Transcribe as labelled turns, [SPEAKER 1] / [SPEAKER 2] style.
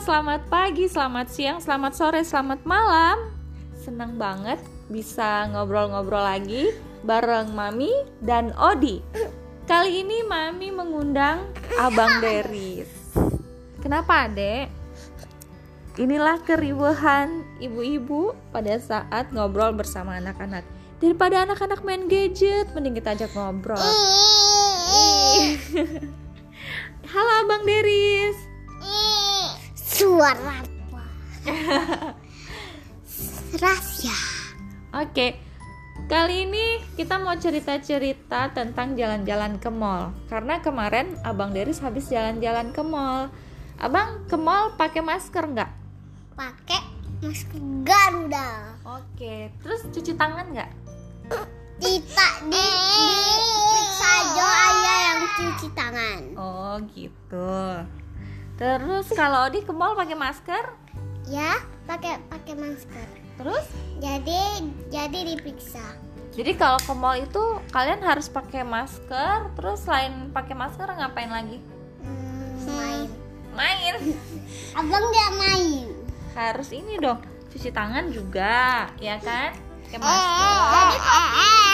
[SPEAKER 1] selamat pagi, selamat siang, selamat sore, selamat malam. Senang banget bisa ngobrol-ngobrol lagi bareng Mami dan Odi. Kali ini Mami mengundang Abang Deris. Kenapa, Dek? Inilah keriuhan ibu-ibu pada saat ngobrol bersama anak-anak. Daripada anak-anak main gadget, mending kita ajak ngobrol. Halo Abang Deris.
[SPEAKER 2] Suara apa? Rahasia.
[SPEAKER 1] Oke. Kali ini kita mau cerita-cerita tentang jalan-jalan ke mall. Karena kemarin Abang Deris habis jalan-jalan ke mall. Abang ke mall pakai masker nggak?
[SPEAKER 2] Pakai masker Garuda.
[SPEAKER 1] Oke. Terus cuci tangan nggak?
[SPEAKER 2] Tidak di periksa aja ayah yang cuci tangan.
[SPEAKER 1] Oh gitu. Terus kalau Odi ke mall pakai masker?
[SPEAKER 2] Ya, pakai pakai masker.
[SPEAKER 1] Terus?
[SPEAKER 2] Jadi jadi diperiksa.
[SPEAKER 1] Jadi kalau ke mall itu kalian harus pakai masker. Terus selain pakai masker ngapain lagi?
[SPEAKER 2] Hmm, main.
[SPEAKER 1] Main.
[SPEAKER 2] Abang nggak main.
[SPEAKER 1] Harus ini dong. Cuci tangan juga, ya kan? Pakai
[SPEAKER 2] Jadi eh,
[SPEAKER 1] masker.
[SPEAKER 2] pakai eh,